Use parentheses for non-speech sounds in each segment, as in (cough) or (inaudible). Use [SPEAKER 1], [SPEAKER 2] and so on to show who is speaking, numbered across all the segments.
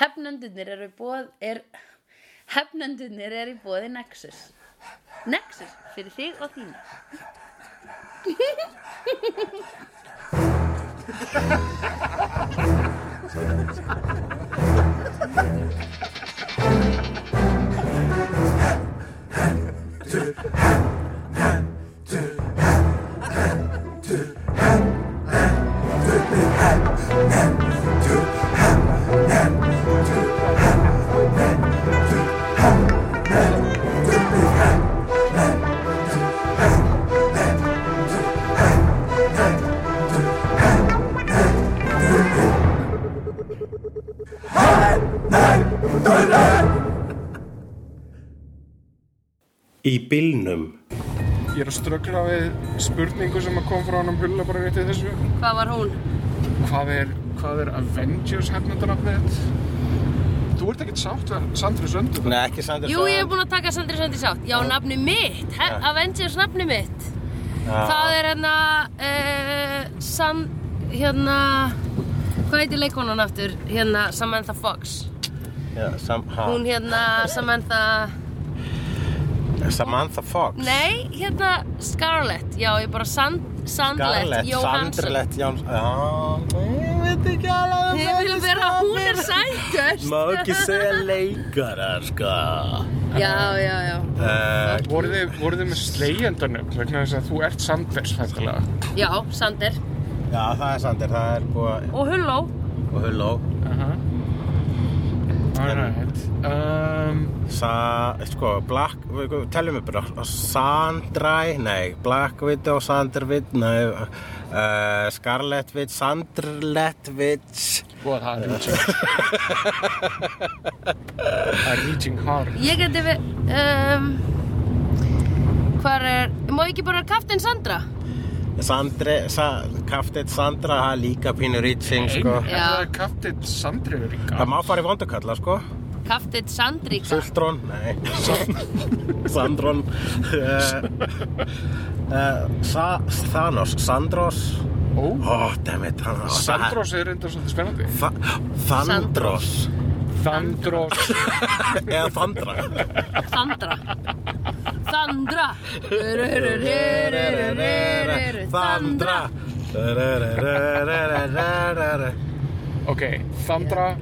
[SPEAKER 1] Hefnendurnir eru bóð er, Hefnendurnir eru í bóði Nexus Nexus fyrir þig og þína
[SPEAKER 2] Í bylnum.
[SPEAKER 3] Ég er að ströggla við spurningu sem að kom frá hann um hulla bara rétt í þessu.
[SPEAKER 1] Hvað var hún?
[SPEAKER 3] Hvað er, hvað er Avengers hefnundanafnið? Þú ert ekkert sátt við Sandri Söndur.
[SPEAKER 2] Nei, ekki Sandra
[SPEAKER 4] Jú, ég hef búin að taka Sandri Söndi sátt. Já, nafni mitt. He Avengers nafni mitt. Það er hérna, uh, San, hérna, hvað heitir leikonan aftur? Hérna, Samantha Fox.
[SPEAKER 2] Já, sam, ha,
[SPEAKER 4] Hún hérna, Samantha,
[SPEAKER 2] Samantha Fox.
[SPEAKER 4] nei, hérna, Scarlett. Já, ég bara Sand, Sandlett
[SPEAKER 2] Scarlett,
[SPEAKER 4] Johansson.
[SPEAKER 2] Sandrlett Jónsson. Já, ég veit ekki alveg um
[SPEAKER 4] Ég vil vera, hún er sætust.
[SPEAKER 2] Má ekki segja leikarar, sko.
[SPEAKER 1] Já, já, já
[SPEAKER 2] Uh,
[SPEAKER 3] Voruð þið, voruð þið með slegjendanöfn vegna þess að þú ert Sanders fæntalega.
[SPEAKER 4] Já, Sander.
[SPEAKER 2] já, það er Sander, það er búið
[SPEAKER 4] Og Hulló.
[SPEAKER 2] og hulló.
[SPEAKER 3] Alright. Um,
[SPEAKER 2] Sa, sko, Black, teljum við bara, Sandræ, nei, Black Widow, Sandervid, nei, uh, Scarlet Witch, Sandrlett Witch.
[SPEAKER 3] og það er (laughs) reaching. það er reaching hard.
[SPEAKER 4] Ég geti við, um, hvað er, má ég ekki bara Captain Sandra?
[SPEAKER 2] Sandri, sa, Kaftit Sandra, það er líka pínu rýtsing, sko.
[SPEAKER 3] En það er kaptinn Sandri er líka.
[SPEAKER 2] Það má fara í vondukalla, sko.
[SPEAKER 4] Captain Sandrika.
[SPEAKER 2] Sultrón, nei. Sandrón. Uh, uh, sa, Thanos, Sandros.
[SPEAKER 3] Ó,
[SPEAKER 2] Ó, oh, dammit, hann.
[SPEAKER 3] Sandros er reyndar svolítið spennandi.
[SPEAKER 2] Þa, Thandros.
[SPEAKER 3] Sandros.
[SPEAKER 2] Eða Thandra.
[SPEAKER 4] Sandra. Sandra.
[SPEAKER 2] Thandra.
[SPEAKER 3] Ok, Sandra.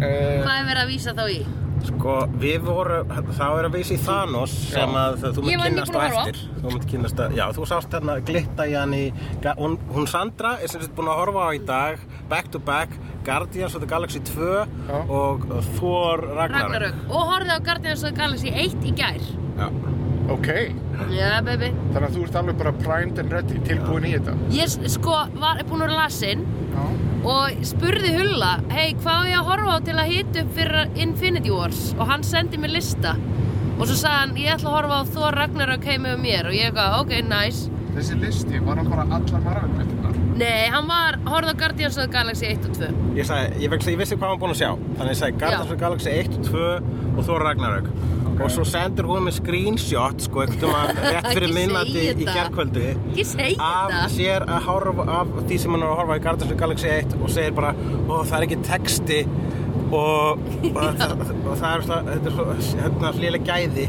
[SPEAKER 3] Uh,
[SPEAKER 4] Hvað er verið að vísa þá í?
[SPEAKER 2] Sko, við vorum, það er að vísa í Thanos sem að þú
[SPEAKER 4] Ég
[SPEAKER 2] munt
[SPEAKER 4] var nýbúin
[SPEAKER 2] kynnast á
[SPEAKER 4] að horfa.
[SPEAKER 2] eftir. Þú munt kynnast að, já, þú sást hérna glitta í hann í, ga- hún, hún Sandra er sem sagt búin að horfa á í dag, back to back, Guardians of the Galaxy 2
[SPEAKER 3] Já.
[SPEAKER 2] og Thor Ragnarök.
[SPEAKER 4] Ragnarök. Og horfið á Guardians of the Galaxy 1 í gær.
[SPEAKER 2] Ragnarök.
[SPEAKER 3] ok,
[SPEAKER 4] Já, baby.
[SPEAKER 3] þannig að þú ert alveg bara primed and ready tilbúin í þetta.
[SPEAKER 4] Ég s- sko var búin að vera lasin
[SPEAKER 3] Já.
[SPEAKER 4] og spurði Hulla, hei, hvað á ég að horfa á til að hita upp fyrir Infinity Wars? Og hann sendi mér lista. Og svo sagði hann, ég ætla að horfa á Thor Ragnarök heimi um mér. Og ég eitthvað, ok, nice.
[SPEAKER 3] Þessi listi var hann bara allar margulmyndirnar.
[SPEAKER 4] Nei, hann var, horfði á Guardians of the Galaxy 1 og 2.
[SPEAKER 2] Ég sagði, ég, vegna, ég vissi hvað hann búin að sjá, þannig ég sagði Guardians
[SPEAKER 4] Já.
[SPEAKER 2] of the Galaxy 1 og 2 og Thor Ragnarök. Og svo sendur hún með screenshot, sko, einhvern veginn rétt fyrir
[SPEAKER 4] Ekki
[SPEAKER 2] minnandi
[SPEAKER 4] segja
[SPEAKER 2] í
[SPEAKER 4] þetta.
[SPEAKER 2] gerkvöldu.
[SPEAKER 4] Ekki segja þetta.
[SPEAKER 2] af sér að horfa af því sem hann er að horfa í Guardians of the Galaxy 1 og segir bara, ó það er ekki texti
[SPEAKER 4] (laughs)
[SPEAKER 2] og, og, það, og það er svona, þetta er svo hérna slélega gæði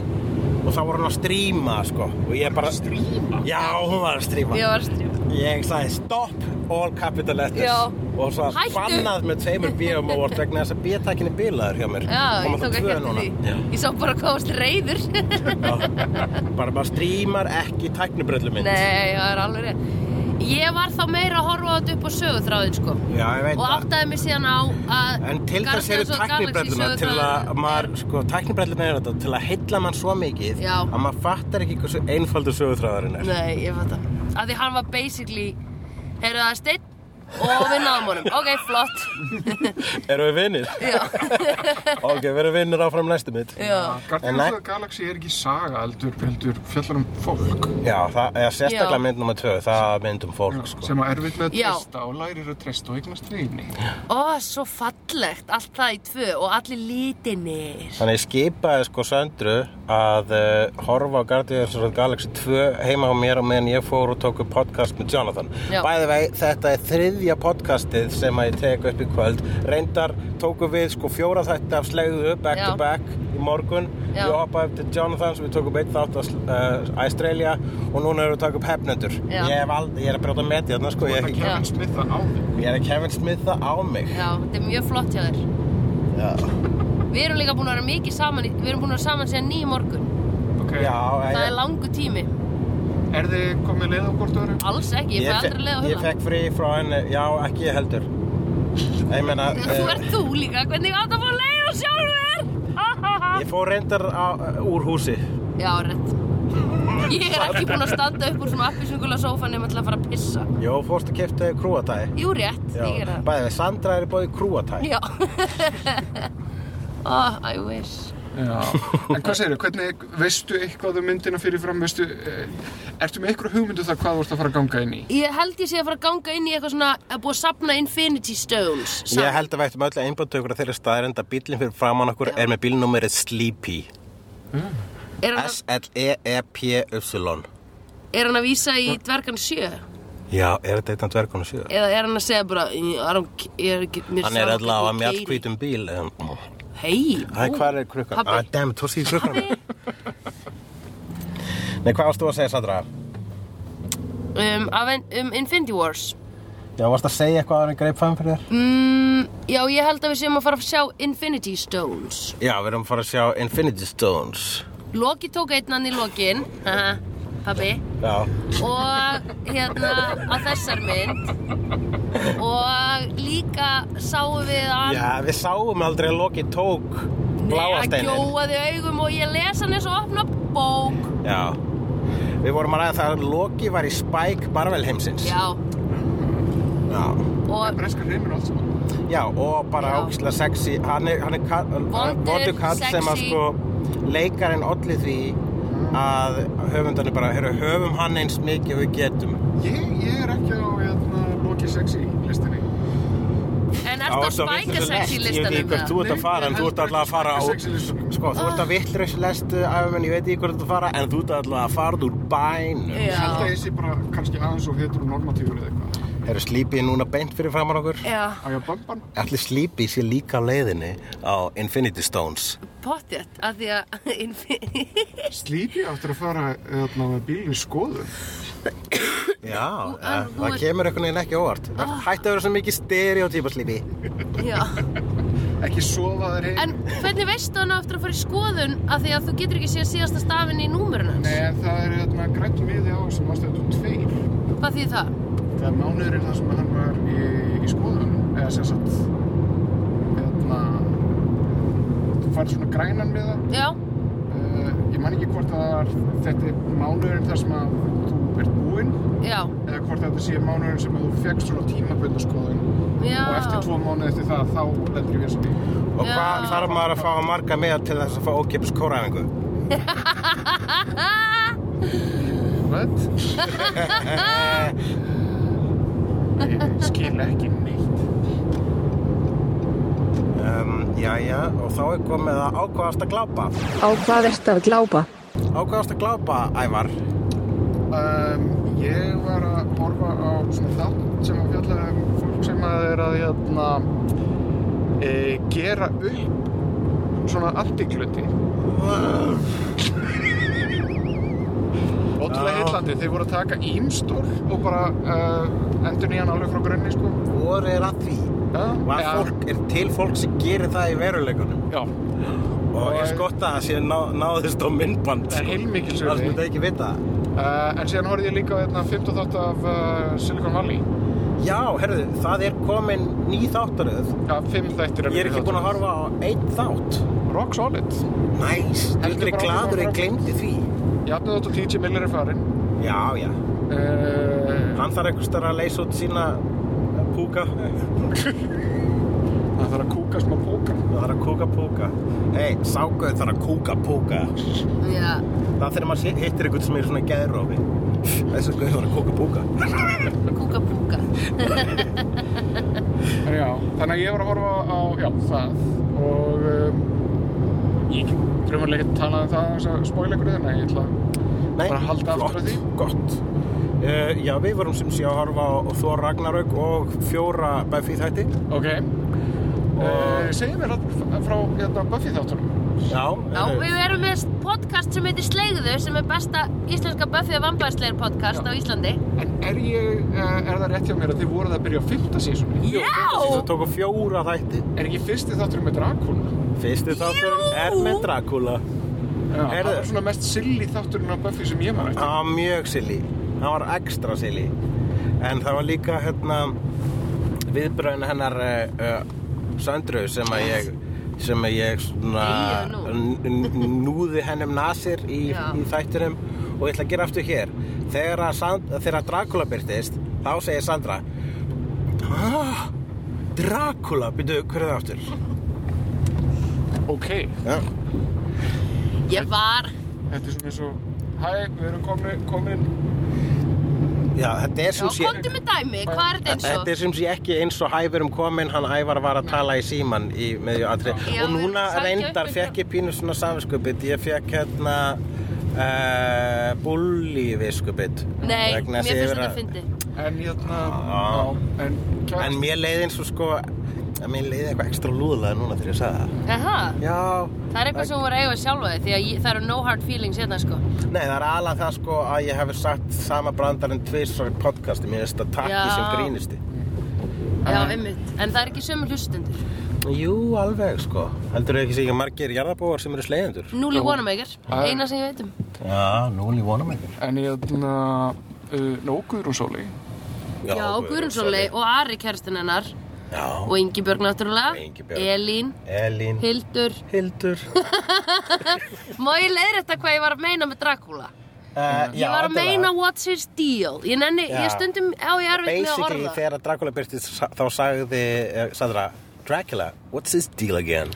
[SPEAKER 2] og þá voru hann að stríma sko og ég bara
[SPEAKER 3] Stríma?
[SPEAKER 2] Já, hún var að stríma
[SPEAKER 4] Ég var stríma.
[SPEAKER 2] Ég sagði stop all capital letters
[SPEAKER 4] Já.
[SPEAKER 2] og svo
[SPEAKER 4] Hættu.
[SPEAKER 2] bannað með tveimur bíum og vort vegna þess að bíðtækinni bílaður hjá mér
[SPEAKER 4] Já,
[SPEAKER 2] Koma
[SPEAKER 4] ég
[SPEAKER 2] þá
[SPEAKER 4] tók ekki
[SPEAKER 2] tvö
[SPEAKER 4] eftir
[SPEAKER 2] núna.
[SPEAKER 4] því.
[SPEAKER 2] Já.
[SPEAKER 4] Ég sá bara hvað varst reyður. (laughs)
[SPEAKER 2] Bara bara strímar ekki tæknubröllum minn
[SPEAKER 4] Nei, það er alveg reyð. Ég var þá meira að horfa á þetta upp á söguþráðin, sko.
[SPEAKER 2] Já, ég veit
[SPEAKER 4] Og áttaði mig síðan á að...
[SPEAKER 2] En til þess eru
[SPEAKER 4] Guardians of the Galaxy
[SPEAKER 2] tæknibrelluna til að
[SPEAKER 4] söguþráðurinn
[SPEAKER 2] maður, sko, tæknibrelluna er þetta til að heilla mann svo mikið
[SPEAKER 4] Já.
[SPEAKER 2] að maður fattar ekki hversu einfaldur sögutræðarinn
[SPEAKER 4] er-
[SPEAKER 2] er.
[SPEAKER 4] Nei, ég fatt að. Af því hann var basically... Heyrðu það er steinn og við náðum honum. Ok, flott.
[SPEAKER 2] Erum við vinnir?
[SPEAKER 4] Já.
[SPEAKER 2] (laughs) ok, við erum vinnir áfram næstu mitt.
[SPEAKER 4] Já.
[SPEAKER 2] En
[SPEAKER 3] Guardians
[SPEAKER 2] næ-
[SPEAKER 3] of the Galaxy er ekki saga, heldur, heldur fjallar um fólk
[SPEAKER 2] Já, það er sérstaklega
[SPEAKER 4] Já.
[SPEAKER 2] mynd nummer tvö, það mynd um fólk, sko.
[SPEAKER 3] sem að erfitt með að
[SPEAKER 4] Já.
[SPEAKER 3] treysta og lærir að treysta og eignast vini.
[SPEAKER 4] Ó, svo fallegt. Allt það í tvö og allir lítinir.
[SPEAKER 2] Þannig ég skipaði sko Söndru að uh, horfa á Guardians of the Galaxy 2 heima á mér og meðan ég fór og tók upp podcast með Jonathan
[SPEAKER 5] Já.
[SPEAKER 2] bæði vei, þetta er þriðja podcastið sem að ég tek upp í kvöld reyndar tóku við sko fjóra þetta af slegðu back
[SPEAKER 5] Já.
[SPEAKER 2] to back í morgun
[SPEAKER 5] Já.
[SPEAKER 2] ég hoppaði upp til Jonathan sem við tókum eitt þátt af uh, Australia og núna erum við að taka upp hefnendur
[SPEAKER 5] Já.
[SPEAKER 2] ég, hef ald- ég er að brjóta með þérna sko
[SPEAKER 3] Þú ert
[SPEAKER 2] ég, ég,
[SPEAKER 3] að
[SPEAKER 5] Já.
[SPEAKER 3] Kevin Smith það á þig.
[SPEAKER 2] er að Kevin Smith það á mig
[SPEAKER 5] Já, þetta er mjög flott hjá þér.
[SPEAKER 2] Já.
[SPEAKER 5] Við erum líka búin að vera mikið saman, í- við erum búin að vera saman síðan nýjum morgun.
[SPEAKER 3] Ok.
[SPEAKER 2] Já, ég-
[SPEAKER 5] Það er langu tími.
[SPEAKER 3] Er þið komið leið á hvort öðru?
[SPEAKER 5] Alls ekki, ég fæ
[SPEAKER 2] fe-
[SPEAKER 5] aldrei leið á
[SPEAKER 2] Ég
[SPEAKER 5] hula.
[SPEAKER 2] fekk frí frá henni, já, ekki ég heldur. Ég meina,
[SPEAKER 5] Þú
[SPEAKER 2] eh,
[SPEAKER 5] ert þú líka, hvernig átt að fá leið á sjálfur? Ha, ha, ha.
[SPEAKER 2] ég fór reyndar á, eh, úr húsi.
[SPEAKER 5] Já, rétt. Ég er ekki búin að standa upp úr svona appisungula sófa nema til að fara að pissa.
[SPEAKER 2] Jó, fórst að kipta krúatæði.
[SPEAKER 5] Jú, rétt, ég er það.
[SPEAKER 2] Bæði, við, Sandra er í bóði krúatæði.
[SPEAKER 5] Já. (laughs) oh, I wish.
[SPEAKER 3] Já. (laughs) En hvað segirðu? Hvernig, veistu eitthvað um myndina fyrirfram? Veistu, eh, ertu með eitthvað hugmyndu það hvað þú ert að fara að ganga inn í?
[SPEAKER 5] Ég held ég sé að fara að ganga inn í eitthvað svona, að búið að sapna Infinity Stones. saman.
[SPEAKER 2] Ég held að við ættum öll að einbjönd okkur að þeirra staðarind að bílinn fyrir framann okkur er með bílnúmerið Sleepy. E
[SPEAKER 5] Er hann, að,
[SPEAKER 2] S-L-E-E-P-Y.
[SPEAKER 5] er hann að vísa í dvergan sjö?
[SPEAKER 2] Já, er þetta eitt af dvergunum síðan?
[SPEAKER 5] Eða er hann að segja bara, "Ég- I don't ca- ég er ekki, mér
[SPEAKER 2] Hann er
[SPEAKER 5] sama
[SPEAKER 2] alltaf á
[SPEAKER 5] hvernig ég keyri."
[SPEAKER 2] mjallkvítum bíl. en-
[SPEAKER 5] Hei,
[SPEAKER 2] Æ, hvað er krukkan?
[SPEAKER 5] Pabbi.
[SPEAKER 2] Æ, dammit, þú séð krukkan.
[SPEAKER 5] (laughs)
[SPEAKER 2] Nei, hvað varst þú að segja, Sandra?
[SPEAKER 5] um, Aven- um Infinity Wars.
[SPEAKER 2] Já, varst að segja eitthvað að hann greip fram fyrir þér?
[SPEAKER 5] Mm, já, ég held að við séum að fara að sjá Infinity Stones.
[SPEAKER 2] Já, við erum að fara að sjá Infinity Stones
[SPEAKER 5] Loki tók einnan í lokin Haha, Pabbi
[SPEAKER 2] Já
[SPEAKER 5] Og hérna á þessar mynd Og líka sáum við að
[SPEAKER 2] Já, við sáum aldrei að Loki tók bláa
[SPEAKER 5] Nei, að
[SPEAKER 2] steinin
[SPEAKER 5] gjóaði augum og ég les hann eins og opna bók
[SPEAKER 2] Já Við vorum að ræða það að Loki var í Spike Barvel heimsins
[SPEAKER 5] Já,
[SPEAKER 2] Já,
[SPEAKER 3] Það er
[SPEAKER 5] og
[SPEAKER 3] breska hreimur og allt saman.
[SPEAKER 2] Já, og bara
[SPEAKER 5] Já.
[SPEAKER 2] ógislega sexy Hann er, hann er ka-
[SPEAKER 5] Vondur,
[SPEAKER 2] vondur kall sem að
[SPEAKER 5] sexy.
[SPEAKER 2] sko leikarinn olli því að höfundarnir bara, heyrðu, höfum hann eins mikið og við getum
[SPEAKER 3] Ég, ég er ekki á, hérna, Loki sexy listinni.
[SPEAKER 5] En ertu að spæka sex í listanum
[SPEAKER 2] með það? Þú ert að fara, en þú ert alltaf að fara á...
[SPEAKER 3] Sex í listanum.
[SPEAKER 2] Sko, þú
[SPEAKER 5] Ah.
[SPEAKER 2] ert að vittlurslessu, æfum en ég veit ekki hvort þú ert að fara, en þú ert alltaf að fara úr bænum.
[SPEAKER 3] Ég held að
[SPEAKER 5] Já,
[SPEAKER 3] ég sé bara kannski aðeins og heteronormatífur eða eitthvað.
[SPEAKER 2] Herru, Sleepy er núna beint fyrir framar okkur.
[SPEAKER 5] já,
[SPEAKER 3] Á ég að bamban?
[SPEAKER 2] Allir Sleepy sé líka á leiðinni á Infinity Stones.
[SPEAKER 5] pottjætt Af því að (laughs) Infinity
[SPEAKER 3] Slípi aftur að fara hérna, með bílinn í skoðun.
[SPEAKER 2] Já, eh,
[SPEAKER 5] þú
[SPEAKER 2] það
[SPEAKER 5] ert-
[SPEAKER 2] kemur einhvern veginn ekki á óvart.
[SPEAKER 5] Ah.
[SPEAKER 2] Hætti að vera svo mikið stereotypa Sleepy.
[SPEAKER 5] (laughs) Já
[SPEAKER 3] Ekki sofa þær heim.
[SPEAKER 5] En hvernig veistu hann á eftir að fara í skoðun af því að þú getur ekki séð síðasta stafinn í númurinn hans?
[SPEAKER 3] Nei, en það er hérna grætt miði á sem ástættu tveir.
[SPEAKER 5] Hvað þýð það?
[SPEAKER 3] Það er mánuðurinn það sem hann var í, í skoðun. Eða sem sagt, hérna, þú farið svona grænan miða.
[SPEAKER 5] Já,
[SPEAKER 3] Uh, ég man ekki hvort það var, þetta er mánuðurinn þar sem að þú ert búinn.
[SPEAKER 5] já,
[SPEAKER 3] Eða hvort þetta sé mánuðurinn sem að þú fegst svona tímabönda skoðun.
[SPEAKER 5] já.
[SPEAKER 3] Og eftir tvo mánuði eftir það, þá lendur ég við sem ég.
[SPEAKER 2] Og hvað
[SPEAKER 5] Já.
[SPEAKER 2] þarf maður að fá að marga með til þess að fá ókipis kóræfingu?
[SPEAKER 3] What? (laughs) Ég skil ekki neitt.
[SPEAKER 2] Um, jæja, og þá er komið að ákvaðast að glápa.
[SPEAKER 6] Á hvað ert að glápa?
[SPEAKER 2] Ákvaðast að glápa, Ævar.
[SPEAKER 3] Um, ég var að horfa á svona þátt sem að fjalla um fólk sem að er að jæna, e, gera upp svona antikluti. Ótrúlega
[SPEAKER 2] Já.
[SPEAKER 3] heillandi, þeir voru að taka ímstór og bara uh, endur nýjan alveg frá grunni, sko.
[SPEAKER 2] Hvor er að því?
[SPEAKER 3] Ja.
[SPEAKER 2] Var fólk, er til fólk sem gerir það í veruleikunum?
[SPEAKER 3] Já,
[SPEAKER 2] Og ég skotta að það sé ná, náðist á myndband.
[SPEAKER 3] það er
[SPEAKER 2] sko.
[SPEAKER 3] heilmikil
[SPEAKER 2] Það sem
[SPEAKER 3] sögði.
[SPEAKER 2] þetta ekki vita.
[SPEAKER 3] Uh, en síðan horfði ég líka á hérna 15 þátt af uh, Silicon Valley.
[SPEAKER 2] Já, herruðu, það er komin ný þáttaröð.
[SPEAKER 3] Já, fimm þættir
[SPEAKER 2] Ég er ekki búinn að horfa á einn þátt.
[SPEAKER 3] horfa Rock Solid
[SPEAKER 2] Næs,
[SPEAKER 3] Heldur
[SPEAKER 2] heldur ég
[SPEAKER 3] bara
[SPEAKER 2] gladur,
[SPEAKER 3] áfram
[SPEAKER 2] ég
[SPEAKER 3] að
[SPEAKER 2] glemdi því.
[SPEAKER 3] Jafnir þátt og TJ Miller er farinn
[SPEAKER 2] Já, já.
[SPEAKER 3] uh,
[SPEAKER 2] Hann þarf einhvers staðar að leysa út sína púka.
[SPEAKER 3] Það þarf að kúka smá póka
[SPEAKER 2] Það þarf að kúka púka. Hei, ságauð þarf að kúka púka.
[SPEAKER 5] Já,
[SPEAKER 2] Það er þegar maður hittir einhvern sem er svona geðrófi. Þessu gauð þarf að kúka púka.
[SPEAKER 5] kúka púka.
[SPEAKER 3] En já, þannig að ég var að horfa á, já, það Og um, ég frumvarlega ekki tala um það án þess að spoila ykkur þannig að ég ætla
[SPEAKER 2] Nei,
[SPEAKER 3] bara að halda aftur af því.
[SPEAKER 2] Gott. Uh, já, við vorum sem sé að horfa á Þor Ragnarök og fjóra Buffy þætti.
[SPEAKER 3] Ok uh, Segðu mér hann frá hérna, Buffy þáttunum
[SPEAKER 2] Já, eh,
[SPEAKER 5] Já, við erum með podcast sem heitir Sleigðu sem er besta íslenska Buffy og vampærsleir podcast á Íslandi
[SPEAKER 3] En er, ég, uh, er það rétt hjá mér að þið voruð að byrja á fymta sísunni?
[SPEAKER 5] Já!
[SPEAKER 2] það tóku fjóra þætti.
[SPEAKER 3] Er ekki fyrsti þátturinn með Dracula?
[SPEAKER 2] Fyrsti þátturinn er með Dracula.
[SPEAKER 3] Já, það
[SPEAKER 2] Heyrðu.
[SPEAKER 3] var svona mest silly þátturinn á Buffy sem ég maður
[SPEAKER 2] Það var mjög silly. Það var ekstra silly. En það var líka hérna viðbröðin hennar uh, uh, Söndru sem að ég sem að ég svona
[SPEAKER 5] Eigi nú.
[SPEAKER 2] n- n- núði hennum nasir í,
[SPEAKER 5] Já.
[SPEAKER 2] í þættinum og ég ætla að gera aftur hér þegar, að Sand, þegar að Dracula byrtist þá segir Sandra ah, Dracula, byrju, hver er það aftur? Ah,
[SPEAKER 3] Ok,
[SPEAKER 2] Já.
[SPEAKER 5] Ég var
[SPEAKER 3] þetta er svona eins og Hæ, við erum komin, komin
[SPEAKER 2] Já, þetta er
[SPEAKER 5] Já,
[SPEAKER 2] sem sé
[SPEAKER 5] komdu með dæmi, hvað er þetta eins og?
[SPEAKER 2] Þetta er sem sé ekki eins og Hævar um komin, hann Ævar var að tala í síman í meðju aðri
[SPEAKER 5] Já,
[SPEAKER 2] og núna
[SPEAKER 5] við sækja
[SPEAKER 2] reyndar
[SPEAKER 5] upp
[SPEAKER 2] fekk ég pínu svona samskupið, ég fekk hérna uh, bulli viðskupið
[SPEAKER 5] Nei,
[SPEAKER 2] Vegna þess
[SPEAKER 5] mér
[SPEAKER 2] að ég
[SPEAKER 5] finnst
[SPEAKER 2] vera-
[SPEAKER 5] þetta fyndi
[SPEAKER 3] En hérna,
[SPEAKER 2] Já.
[SPEAKER 3] já, en kjart
[SPEAKER 2] Ah. En mér leiði eins og sko, að mér leiði eitthvað ekstra lúðlega núna þegar ég sagði það
[SPEAKER 5] Aha,
[SPEAKER 2] Já,
[SPEAKER 5] það er eitthvað sem hún var að eiga sjálfa þig því að ég, það eru no hard feelings hérna sko
[SPEAKER 2] nei það er alveg það sko að ég hefur sagt sama brandarinn tvisvar í podcasti, mér finnst það takki
[SPEAKER 5] Já.
[SPEAKER 2] sem grínisti
[SPEAKER 5] Já, einmitt, en það er ekki sömu hlustendur
[SPEAKER 2] Jú, alveg sko, heldur þau ekki sér margir jarðabóar sem eru sleiðendur?
[SPEAKER 5] Núli Wanamaker,
[SPEAKER 3] Það er-
[SPEAKER 5] eina sem ég veit um
[SPEAKER 2] Já, núli vonum ekki
[SPEAKER 3] En hérna, uh, Nóguður og Sóli
[SPEAKER 5] Já, Guðrún Sólei og Ari kærstinn hennar
[SPEAKER 2] Já,
[SPEAKER 5] og Ingibjörg náttúrulega,
[SPEAKER 2] Og Ingibjörg.
[SPEAKER 5] Elín,
[SPEAKER 2] Elín
[SPEAKER 5] Hildur (laughs)
[SPEAKER 2] Hildur
[SPEAKER 5] Má ég leiðrétta hvað ég var að meina með Dracula?
[SPEAKER 2] Eh,
[SPEAKER 5] Ég var að meina what's his deal Ég nenni,
[SPEAKER 2] Já.
[SPEAKER 5] ég stundum á ég erfitt með að
[SPEAKER 2] Basically
[SPEAKER 5] orða
[SPEAKER 2] þegar að Dracula byrtist sa- þá sagði eh, Sandra Dracula, what's his deal again?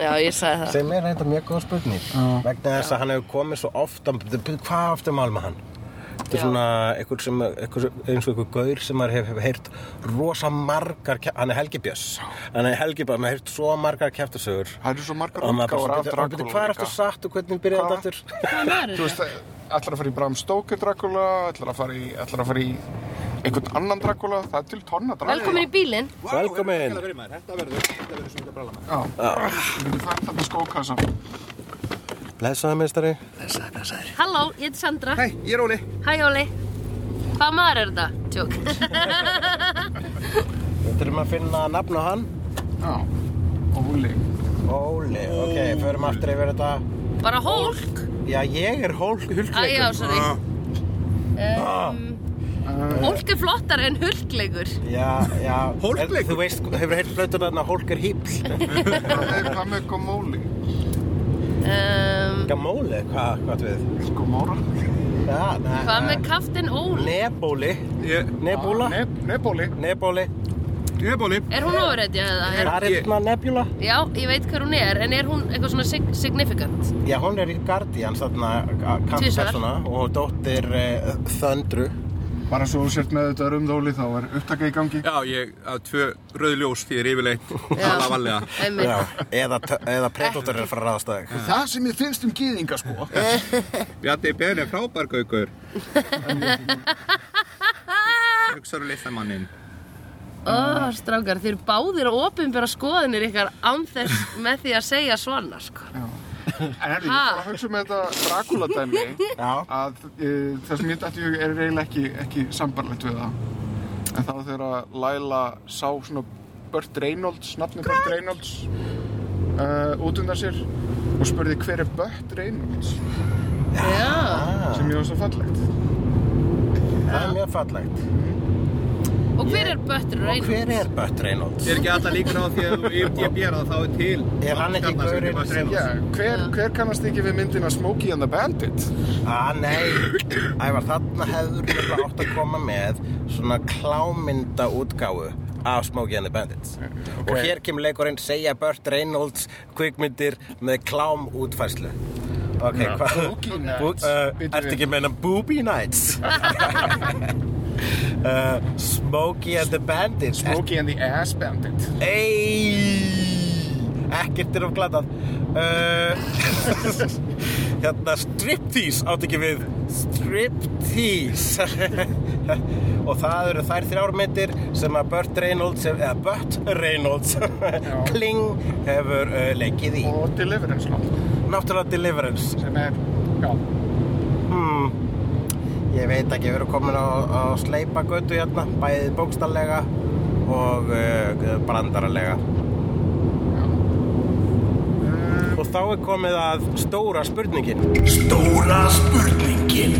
[SPEAKER 5] Já, ég sagði það
[SPEAKER 2] sem er reynda mjög góð spurning vegna þess að hann hefur komið svo oft að- hvað oft er mál með hann? Þetta er
[SPEAKER 5] Já.
[SPEAKER 2] svona einhver sem, einhver, eins og einhver gaur sem maður hefur hef heyrt rosa margar, ke- hann er Helgi Björns hann er Helgi Björns, maður heyrt svo margar kæftasögur
[SPEAKER 3] Það eru svo margar
[SPEAKER 2] og maður
[SPEAKER 3] útgáfur
[SPEAKER 2] bara
[SPEAKER 3] af
[SPEAKER 2] svona, "Bíddu,
[SPEAKER 3] Dracula
[SPEAKER 2] hvað er
[SPEAKER 3] líka."
[SPEAKER 2] aftur satt og hvernig byrjaði
[SPEAKER 3] Hvað?
[SPEAKER 2] þetta aftur?
[SPEAKER 3] Þú veist, ætlar að fara í Bram Stoker Dracula, ætlar að fara í, ætlar að fara í einhvern annan Dracula, það er til tonna Dracula.
[SPEAKER 5] Velkomin í bílinn
[SPEAKER 2] Velkomin.
[SPEAKER 7] Þetta verður, þetta verður svona bralla maður.
[SPEAKER 3] Já,
[SPEAKER 2] Ah.
[SPEAKER 3] við getum fært þarna skókassa.
[SPEAKER 2] Blessaði meistari
[SPEAKER 5] Halló, ég heiti Sandra
[SPEAKER 7] Hæ, ég er Óli.
[SPEAKER 5] Hæ Óli Hvað maður er þetta? Tjók
[SPEAKER 2] Þetta erum að finna nafn á hann
[SPEAKER 3] Já, og húli.
[SPEAKER 2] Óli, ok, förum aftur yfir þetta
[SPEAKER 5] Bara hólk
[SPEAKER 2] Já, ég er hólk, hulkleikur
[SPEAKER 5] Æjá, sorry
[SPEAKER 7] Ah.
[SPEAKER 5] Hólk er flottar en hulkleikur
[SPEAKER 2] Já, já
[SPEAKER 7] Hólkleikur?
[SPEAKER 2] En Þú veist, hefur heilt blötun þarna hólk er hýpl
[SPEAKER 3] Hvað með, hvað með Gomóli?
[SPEAKER 5] um,
[SPEAKER 2] Gamóli, hvað, hvað áttu við?
[SPEAKER 3] Gomóra?
[SPEAKER 2] Já, ne,
[SPEAKER 5] Hvað með kaftin Óli?
[SPEAKER 2] Nebóli
[SPEAKER 7] Ég,
[SPEAKER 2] Nebúla
[SPEAKER 3] Neb, Nebóli.
[SPEAKER 2] Nebóli
[SPEAKER 7] ég er Bóli.
[SPEAKER 5] Er hún ofrættja eða? Er,
[SPEAKER 2] Það er
[SPEAKER 7] ég-
[SPEAKER 2] hérna nebjula
[SPEAKER 5] já, ég veit hver hún er En er hún eitthvað svona sig significant?
[SPEAKER 2] Já, hún er í Guardians þarna
[SPEAKER 5] Tvisvar.
[SPEAKER 2] Kamppersona og dóttir uh, Þöndru
[SPEAKER 3] Bara svo þú sért með þetta römðóli þá er upptaka í gangi.
[SPEAKER 7] Já, ég á tvö rauð ljós því ég er yfirleitt. Alla valega.
[SPEAKER 5] Einmitt
[SPEAKER 2] Já, eða, t- eða Predator er frá ráðstæði
[SPEAKER 3] Það sem ég finnst um gýðinga sko.
[SPEAKER 7] Bjarni Ben er frábær
[SPEAKER 2] (laughs)
[SPEAKER 7] gaukur. Hugsaður listamannin.
[SPEAKER 5] Ó, strákar, þeir eru báðir að opinbera skoðinir ykkar án þess með því að segja svona, sko.
[SPEAKER 3] (laughs) En herri, ég var að hugsa um þetta Dracula dæmi
[SPEAKER 2] Já.
[SPEAKER 3] að e, það sem ég dætti hug er eiginlega ekki, ekki sambarlegt við það. En það var þegar að Laila sá svona Burt Reynolds, nafni Burt Reynolds uh, út undan sér og spurði hver er Burt Reynolds
[SPEAKER 5] Já.
[SPEAKER 3] sem ég var svo fallegt.
[SPEAKER 2] Það er mjög fallegt
[SPEAKER 5] Og hver er Böttur
[SPEAKER 2] Og
[SPEAKER 5] Reynolds?
[SPEAKER 2] hver er Bött Reynolds?
[SPEAKER 7] Ég er ekki alltaf líkur á því að ég, ég bér að þá er til.
[SPEAKER 2] Er hann ekki
[SPEAKER 7] Skarnar sem
[SPEAKER 2] gaurinn
[SPEAKER 7] bara
[SPEAKER 2] sem-
[SPEAKER 7] segir.
[SPEAKER 3] Já, hver, hver kannast ekki við myndina Smokey and the Bandit?
[SPEAKER 2] Ah, nei, ævar, þarna hefur við átt að koma með svona klámynda útgáfu af Smokey and the Bandits. Og hér kemur leikurinn segja Burt Reynolds kvikmyndir með klám útfæslu. Ok, hvað?
[SPEAKER 3] Boogie Nights.
[SPEAKER 2] Bú- uh,
[SPEAKER 3] Bíddu
[SPEAKER 2] Ertu
[SPEAKER 3] við.
[SPEAKER 2] ekki að meina Booby
[SPEAKER 3] (laughs)
[SPEAKER 2] Nights? uh, Smokey and the Bandits.
[SPEAKER 3] Smokey and the Ass Bandit.
[SPEAKER 2] Ey, ekkert er of glatað uh, (laughs) hérna striptease átt ekki við striptease (laughs) og það eru þær þrjármyndir sem að Burt Reynolds hef- eða Burt Reynolds (laughs) Kling hefur uh, leikið í
[SPEAKER 3] og Deliverance náttúrulega,
[SPEAKER 2] náttúrulega Deliverance
[SPEAKER 3] sem er, já,
[SPEAKER 2] hmm. ég veit ekki, við erum komin á, á sleipa götu hérna, bæði bókstallega og uh, brandaralega
[SPEAKER 3] já.
[SPEAKER 2] Og þá er komið að stóra spurningin Stóra spurningin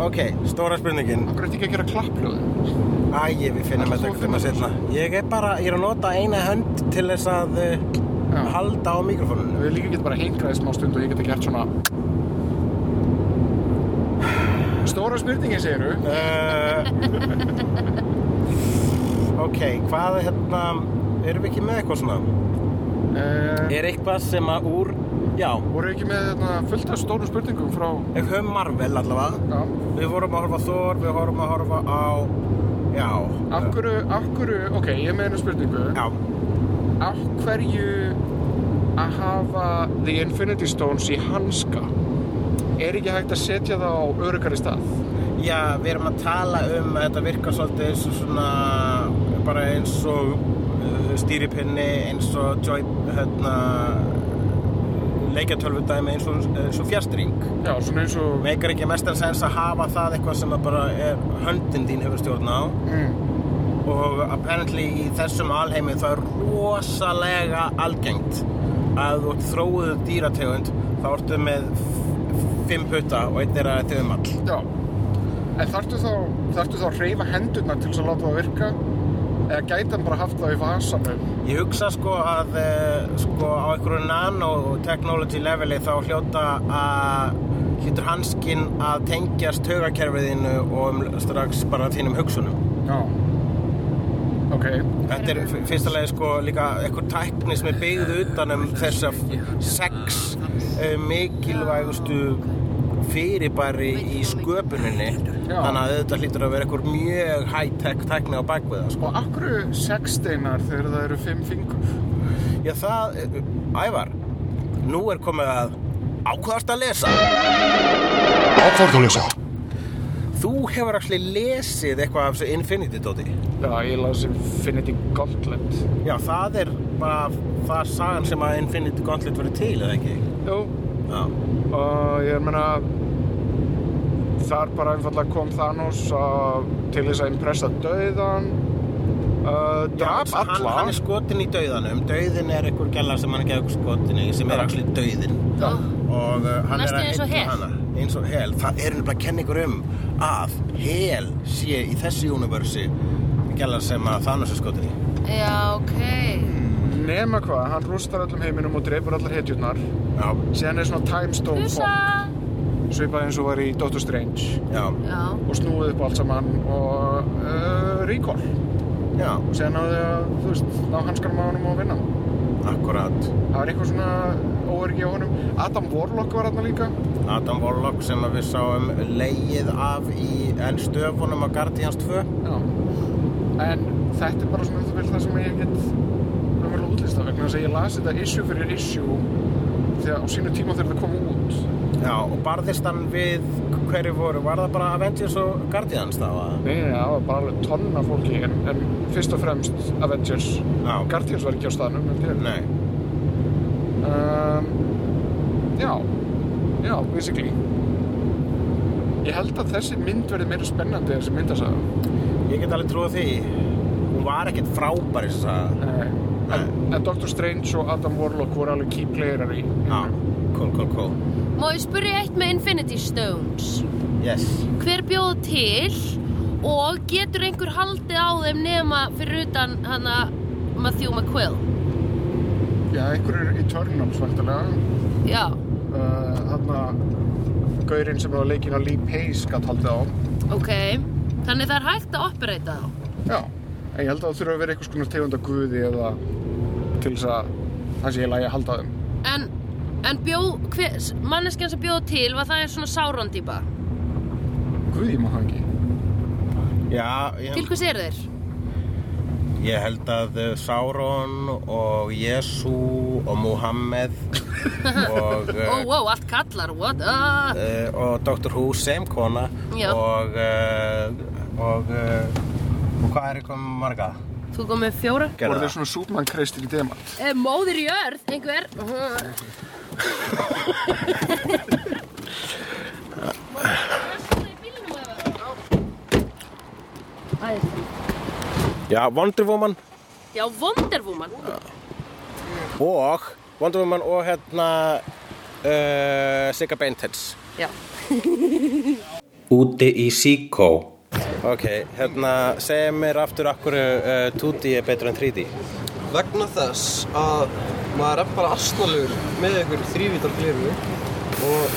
[SPEAKER 2] Ok, stóra spurningin
[SPEAKER 3] Akkur eftir ekki að gera klappljóðin.
[SPEAKER 2] Æ, við finnum þetta eitthvað tíma setna Ég er bara, ég er að nota eina hönd til þess að uh,
[SPEAKER 3] Já.
[SPEAKER 2] halda á mikrofónunum
[SPEAKER 3] Við líka getum bara hingraðið smá stund og ég geta gert svona... Stóra spurningin segiru.
[SPEAKER 2] uh, Ok, hvað hérna, erum við ekki með eitthvað svona?
[SPEAKER 3] Uh,
[SPEAKER 2] Er eitthvað sem að úr, já,
[SPEAKER 3] voru ekki með þarna, fullt af stórum spurningum frá...
[SPEAKER 2] við höfum Marvel allavega
[SPEAKER 3] Já.
[SPEAKER 2] Við vorum að horfa á Thor, við vorum að horfa á, já
[SPEAKER 3] Af hverju, af hverju, ok, ég er með einu spurningu.
[SPEAKER 2] Já,
[SPEAKER 3] Af hverju að hafa The Infinity Stones í hanska? Er ekki hægt að setja það á örugari stað?
[SPEAKER 2] Já, við erum að tala um að þetta virkar svolítið eins og svona bara eins og uh, stýripinni, eins og joy, hérna, leikjartölvudæmi eins og, eh, eins og fjastring.
[SPEAKER 3] Já, svona eins og...
[SPEAKER 2] Meikar ekki mestar sens að hafa það eitthvað sem að bara er, höndin þín hefur stjórn á
[SPEAKER 3] Mm,
[SPEAKER 2] og apparently í þessum alheimi það er rosalega algengt að þú ert þróuðu dýrategund þá ertu með f- fimm putta og einn er að tegum all.
[SPEAKER 3] já. En þarftu þá, þarftu þá að hreyfa hendurna til þess að láta það virka? Eða gæti hann bara haft það í vasanum?
[SPEAKER 2] Ég hugsa sko að eh, sko, á einhverju nanotechnology leveli þá hljóta að hljótur hanskinn að tengjast hugakerfiðinu og um, strax bara þínum hugsunum.
[SPEAKER 3] Já. Ok,
[SPEAKER 2] Þetta er f- fyrsta lagi sko líka einhver tækni sem er byggð utan um þessa f- sex eh, mikilvægustu fyrirbæri í sköpuninni
[SPEAKER 3] Já.
[SPEAKER 2] þannig að þetta hlýtur að vera einhver mjög high-tech tækni á bakvið það sko.
[SPEAKER 3] og af hverju sex steinar þegar það eru fimm fingur?
[SPEAKER 2] Já, það, eh, Ævar, nú er komið að ákvæðast að lesa.
[SPEAKER 8] Ákvörðu lesa.
[SPEAKER 2] Þú hefur actually lesið eitthvað af þessu Infinity Dóti.
[SPEAKER 3] Já, ég las Infinity Gauntlet.
[SPEAKER 2] Já, það er bara, það er sagan sem að Infinity Gauntlet verið til, eða ekki?
[SPEAKER 3] Jú,
[SPEAKER 2] Já.
[SPEAKER 3] og ég meina þar bara einfallega kom Thanos að, til þess að impressa döiðan uh, draf
[SPEAKER 2] hann,
[SPEAKER 3] alla
[SPEAKER 2] Hann er skotin í dauðanum, dauðin er einhver gæla sem hann er ekki skotin í, sem er actually dauðin.
[SPEAKER 3] Já.
[SPEAKER 2] Og uh, hann
[SPEAKER 5] Næstum
[SPEAKER 2] er að
[SPEAKER 5] eins og
[SPEAKER 2] heilla
[SPEAKER 5] Hel.
[SPEAKER 2] hana. Eins og hel. Það er nefnilega kenningur um að hel sé í þessu universi gæla sem að Thanos er skotin í.
[SPEAKER 5] Já, ok.
[SPEAKER 3] nema hvað, hann rústar öllum heiminum og dreifur allar hetjurnar
[SPEAKER 2] Já,
[SPEAKER 3] síðan er svona time stone
[SPEAKER 5] Húsa!
[SPEAKER 3] bomb svipað eins og var í Doctor Strange
[SPEAKER 2] já,
[SPEAKER 5] Já.
[SPEAKER 3] og snúið upp allt saman og uh, recall
[SPEAKER 2] já,
[SPEAKER 3] og síðan náðu að, þú veist, ná hanskanum á honum og vinna hann.
[SPEAKER 2] akkurat.
[SPEAKER 3] það var eitthvað svona óöryggi á honum Adam Warlock var hann líka
[SPEAKER 2] Adam Warlock sem að við sáum leið af í enn stöfunum á Guardians 2
[SPEAKER 3] Já, en þetta er bara svona um það vil það sem ég get raunverulega útlista vegna þess að ég las þetta issue fyrir issue þegar á sínu tíma þegar það kom út
[SPEAKER 2] Já, og barðist hann við hverju voru, var það bara Avengers og Guardians þá? að-
[SPEAKER 3] Nei, nei, það var bara alveg tonna fólki en, en fyrst og fremst Avengers
[SPEAKER 2] Já,
[SPEAKER 3] Guardians var ekki á staðnum, held ég
[SPEAKER 2] nei,
[SPEAKER 3] um, Já, já, basically Ég held að þessi mynd verði meira spennandi en þessi mynd að sagða
[SPEAKER 2] ég get alveg trúið því hún var ekkert frábær þess að
[SPEAKER 3] en, Eh, en Doctor Strange og Adam Warlock voru alveg key playerar í
[SPEAKER 2] Já, cool, cool, cool
[SPEAKER 5] Má ég spyrja eitt með Infinity Stones?
[SPEAKER 2] Yes,
[SPEAKER 5] Hver bjóð til og getur einhver haldið á þeim nema fyrir utan hana Matthew McQuill?
[SPEAKER 3] Já, einhverjur í Eternals, væntanlega
[SPEAKER 5] Já,
[SPEAKER 3] uh, þarna gaurinn sem var leikinn á Lee Pace gatt haldið á
[SPEAKER 5] ok. Þannig það er hægt að operata þá.
[SPEAKER 3] já, en ég held að það þurfa að vera einhvers konar tegund af guði eða til þess að það sé ég lægi að halda á þeim
[SPEAKER 5] En, en bjóð, hver, manneskjan sem bjóð til var það er svona Sauron típa.
[SPEAKER 3] guði má hangi
[SPEAKER 2] já,
[SPEAKER 5] Til
[SPEAKER 2] ég,
[SPEAKER 5] hvers eru þeir?
[SPEAKER 2] Ég held að eh, Sauron og Jésu og (laughs) Muhammed og, eh,
[SPEAKER 5] Ó, ó, allt kallar, what up?
[SPEAKER 2] eh, og Dr. Who sem kona
[SPEAKER 5] Já.
[SPEAKER 2] og, eh, og, eh, og hvað er eitthvað marga?
[SPEAKER 5] Þú kom með fjóra?
[SPEAKER 3] Voru þeir svona súpmannkreistir í demant?
[SPEAKER 5] Eh, móðir í örð, einhver? Æðislegt.
[SPEAKER 2] Já, Wonder Woman
[SPEAKER 5] Já, Wonder Woman.
[SPEAKER 2] og Wonder Woman og hérna uh, Sigga Beintels
[SPEAKER 5] Já.
[SPEAKER 2] Úti í Síkó Ok, hérna, segja mér aftur akkur uh, 2D er betur en 3D
[SPEAKER 9] vegna þess að maður er bara asnalugur með einhver þrývítar gliru og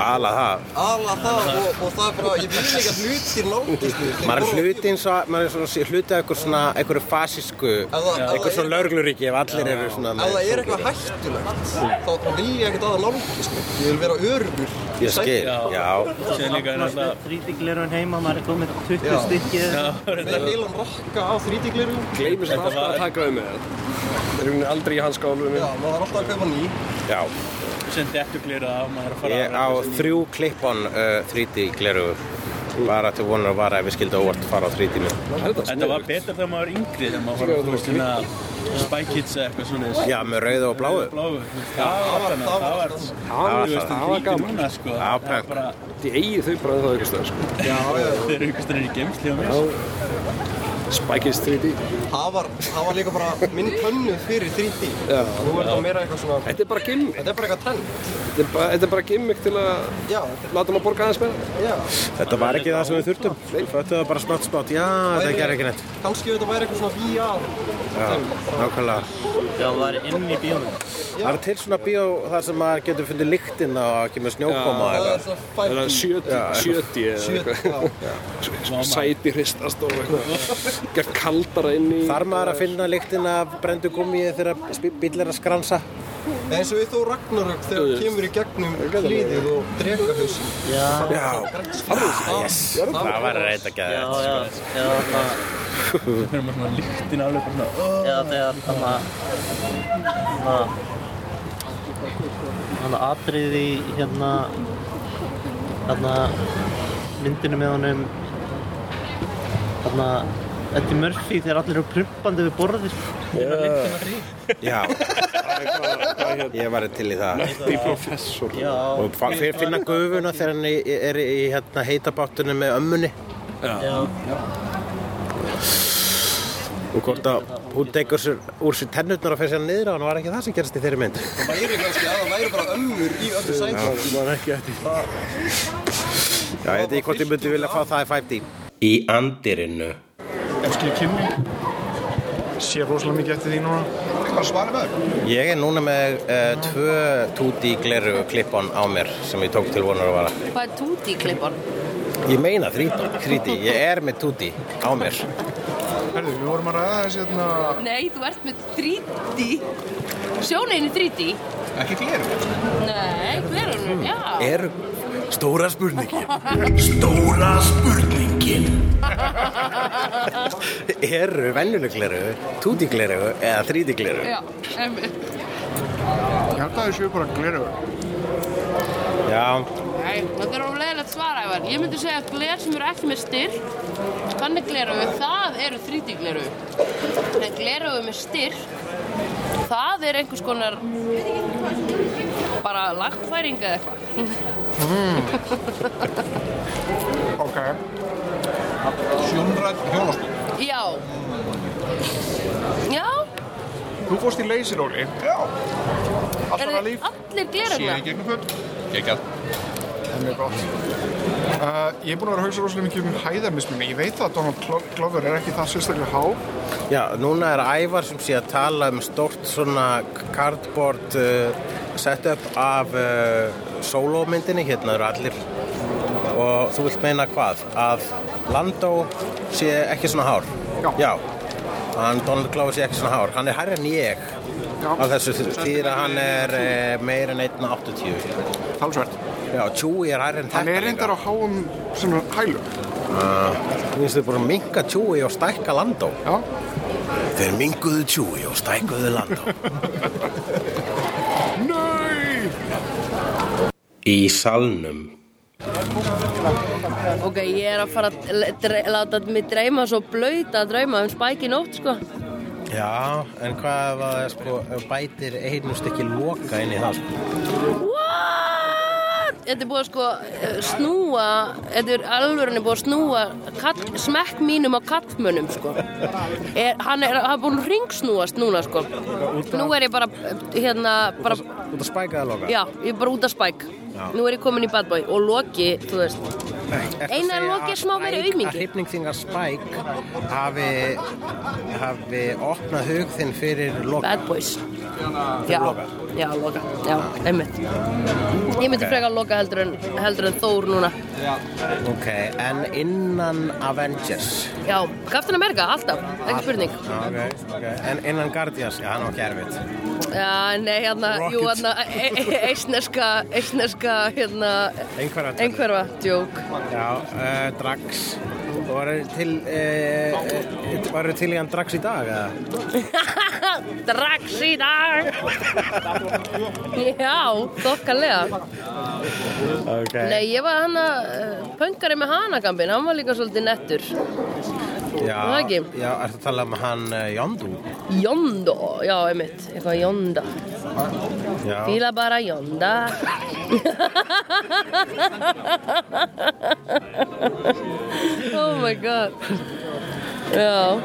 [SPEAKER 2] Ala það
[SPEAKER 9] ala það og, og það er bara, ég vil ekki að hlutir nálgist mér. Þeir
[SPEAKER 2] Maður er
[SPEAKER 9] voru-
[SPEAKER 2] hluti eins og, maður er svona hluti af eitthvað svona, eitthvað fasísku
[SPEAKER 9] það- ef
[SPEAKER 2] eitthvað
[SPEAKER 9] það
[SPEAKER 2] svona
[SPEAKER 9] er-
[SPEAKER 2] lögluríki ef allir eru svona
[SPEAKER 9] Ef það er eitthvað hættulegt, þá vil ég ekkert að það nálgist mér. Ég vil vera örugur.
[SPEAKER 2] Ég skil, já
[SPEAKER 10] Sér líka er alltaf
[SPEAKER 11] Þrítiglirun heima, maður er komið 20
[SPEAKER 9] Já.
[SPEAKER 11] stykkið.
[SPEAKER 9] Með heilan rakka á þrítigliru.
[SPEAKER 10] Gleimist alltaf að taka um með það Það er hún aldrei í hans skálum
[SPEAKER 9] Já, maður er alltaf að kaupa ný.
[SPEAKER 2] Já,
[SPEAKER 10] Sem dettu glera af, maður er að fara
[SPEAKER 2] ég á þrjú klippon uh, 3D gleru bara til vonur og vara ef við skildum óvart fara á 3D nú
[SPEAKER 10] Þetta var betra þegar maður var yngri þegar maður var að þú veist svona Spy Kids eða eitthvað svona
[SPEAKER 2] Já, með rauðu og bláu
[SPEAKER 10] Bláu Það var þannig, það var
[SPEAKER 2] var-
[SPEAKER 10] þú veist,
[SPEAKER 2] það
[SPEAKER 10] þú líka núna sko
[SPEAKER 2] Já,
[SPEAKER 10] Það
[SPEAKER 2] punk.
[SPEAKER 10] er bara Þið eigið þau bara það aukast það sko Þeir eru aukast þeir í geimsli á mér Spy Kids 3D
[SPEAKER 9] Það var, það var líka bara minn tönnu fyrir 3D.
[SPEAKER 10] Já.
[SPEAKER 9] Nú er það meira eitthvað svona,
[SPEAKER 10] Þetta er bara gimmick
[SPEAKER 9] þetta er bara eitthvað trend.
[SPEAKER 10] Þetta er bara- þetta er bara gimmick til að
[SPEAKER 9] Já, þetta
[SPEAKER 10] láta maður borga aðeins með það
[SPEAKER 9] er, já.
[SPEAKER 2] Þetta var ekki það sem við þurftum Við föttum það bara smátt smátt Já, þetta gerði ekki neitt
[SPEAKER 9] Kanski þetta væri eitthvað svona VR.
[SPEAKER 2] Já, nákvæmlega
[SPEAKER 11] Já, það er inn í bíónum.
[SPEAKER 2] Það er til svona bíó þar sem maður getur fundið lyktin og ekki með snjókoma og
[SPEAKER 9] Það er
[SPEAKER 2] eitthvað
[SPEAKER 9] svona 5D.
[SPEAKER 10] Það er 70 70 eða eitthvað
[SPEAKER 9] Sjö- já.
[SPEAKER 10] Sæti hristast og eitthvað Gert kaldara inn í
[SPEAKER 2] Þar maður að finna lyktin af brendu gummið þegar sp- bíll er að skransa
[SPEAKER 9] Nei, eins og við þó Ragnarök þegar hann kemur í gegnum hlýðið og dregahausin.
[SPEAKER 2] Já, Ah, yes Það var reynd að
[SPEAKER 11] Já,
[SPEAKER 2] geða
[SPEAKER 11] já, eða það,
[SPEAKER 10] Við erum svona lyktin alveg bara svona
[SPEAKER 11] eða þegar þarna, þarna, þarna atrið í hérna, þarna myndinu með honum, þarna, Eddie Murphy þegar allir eru prumpandi við borðið.
[SPEAKER 2] Já Ég var til í hérna- það
[SPEAKER 10] Því professor
[SPEAKER 11] Já,
[SPEAKER 2] Og fa- fi- finna gufuna þegar hann í- er í hérna, heitabáttunum með ömmunni
[SPEAKER 11] já,
[SPEAKER 2] og hvort að hún tekur sér, úr sér tennutnar og fyrir sér niður á hann var ekki það sem gerst í þeirri mynd
[SPEAKER 9] Það væri kannski að það væri bara ömmur í öllu sætum.
[SPEAKER 2] var ekki eftir Já, ég veit ekki hvort ég myndi vilja fá það í 5D Í andirinu
[SPEAKER 3] Elskil kynni? Sér rosalega mikið eftir því núna.
[SPEAKER 9] Bara svara með það.
[SPEAKER 2] Ég er núna með uh, tvö 2D gleru klippon á mér sem ég tók til vonar að vara
[SPEAKER 5] Hvað er Tuti klippan?
[SPEAKER 2] Ég meina 3D, 3D, ég er með 2D á mér
[SPEAKER 3] Herðu, við vorum að ræða þessi hérna...
[SPEAKER 5] Nei, þú ert með 3D. Sjóneinu 3D.
[SPEAKER 9] Ekki glerum.
[SPEAKER 5] Nei, hver er hún? Já.
[SPEAKER 2] Er stóra spurningin
[SPEAKER 8] Stóra spurningin
[SPEAKER 2] Eru venjuleg gleru, 2D gleru eða 3D gleru
[SPEAKER 5] Já, einmitt.
[SPEAKER 3] Ég held að þau séu bara gleraugur.
[SPEAKER 2] Já,
[SPEAKER 5] Nei, þetta er ólegilegt svara, Ævar. Ég myndi segja að gler sem eru ekki með styrk, þannig gleraugu, það eru 3D gleraugu. En gleraugu með styrk, það er einhvers konar bara lagfæring eða eitthvað.
[SPEAKER 3] Ok.
[SPEAKER 9] Sjónrætt hjónastu.
[SPEAKER 5] Já. Já,
[SPEAKER 3] Þú fórst í leysiróli. Já. Allt
[SPEAKER 5] eru
[SPEAKER 3] annað líf.
[SPEAKER 5] allir gleraugu.
[SPEAKER 9] Ég gegnum föt.
[SPEAKER 3] Það er mjög gott. Uh, ég er búinn að vera að hugsa rosalega mikið um hæðarmismunni. Ég veit að Donald Glo- Glover er ekki það sérstaklega há.
[SPEAKER 2] Já, núna er Ævar sem sé að tala um stórt svona cardboard uh, setup af uh, sólómyndinni, hérna eru allir og þú vilt meina hvað? Að Landó sé ekki svona hár?
[SPEAKER 3] Já.
[SPEAKER 2] Hann Donald Glover sé ekki svona hár. Hann er hærri en ég
[SPEAKER 3] Já.
[SPEAKER 2] á þessu því að hann er uh, meir en 1,80.
[SPEAKER 3] Talsvert.
[SPEAKER 2] Já, Chewie er hærri en þetta.
[SPEAKER 3] Hann er
[SPEAKER 2] líka.
[SPEAKER 3] reyndar á háum svona hælum.
[SPEAKER 2] Þú veist þau bara minka tjúi og stækka landó
[SPEAKER 3] Já
[SPEAKER 2] Þeir minguðu tjúi og stækkuðu landó Í salnum
[SPEAKER 5] Ok, ég er að fara að le- dre- láta mig dreyma svo blöyta að drauma um spæki nótt, sko.
[SPEAKER 2] Já, en hvað ef að sko, ef bætir einu stykki loka inn í það sko?
[SPEAKER 5] What? Þetta er búið að sko eh, snúa, þetta er alvörinni búið að snúa kall, smekk mínum á kallmönnum, sko. Er, hann er, hann er búin að ringsnúast núna, sko. Nú er ég bara, eh, hérna, bara,
[SPEAKER 2] Út að spæka það loka?
[SPEAKER 5] já, ég er bara út af spæk.
[SPEAKER 2] Já.
[SPEAKER 5] Nú er ég komin í bad boy og Loki, þú veist.
[SPEAKER 2] Ertu að
[SPEAKER 5] Einar
[SPEAKER 2] segja
[SPEAKER 5] Loki er
[SPEAKER 2] að
[SPEAKER 5] smá meiri
[SPEAKER 2] Spike-
[SPEAKER 5] aumingi.
[SPEAKER 2] Að hrifning þingar spæk hafi, hafi opnað hug þinn fyrir loka
[SPEAKER 5] Bad boys. Já, já, Loka, já, einmitt. Ég myndi
[SPEAKER 2] Ok.
[SPEAKER 5] frekar Loka heldur en, heldur en Þór núna.
[SPEAKER 2] Ok, en innan Avengers
[SPEAKER 5] Já, Captain America, alltaf, ekki spurning.
[SPEAKER 2] Já, ok, ok. En innan Guardians, já, hann var ekki erfitt
[SPEAKER 5] Já, nei, hérna,
[SPEAKER 2] Rocket.
[SPEAKER 5] jú, hérna, e- e- eistneska, eistneska, hérna,
[SPEAKER 2] Einhverja tölur.
[SPEAKER 5] einhverfa, djók.
[SPEAKER 2] Já, uh, Drax Og Var til, uh, var til í hann Drax í dag, eða?
[SPEAKER 5] Drax í dag! Já, þokkalega.
[SPEAKER 2] Ok
[SPEAKER 5] Nei, ég var hana, eh, pöngari með hanagambin, hann var líka svolítið nettur.
[SPEAKER 2] já,
[SPEAKER 5] var það ekki?
[SPEAKER 2] Já, ertu að tala um hann uh, Yondu?
[SPEAKER 5] Jondo, já, einmitt, eitthvað Jonda.
[SPEAKER 2] Já
[SPEAKER 5] Fíla bara Jonda. oh my god. Já.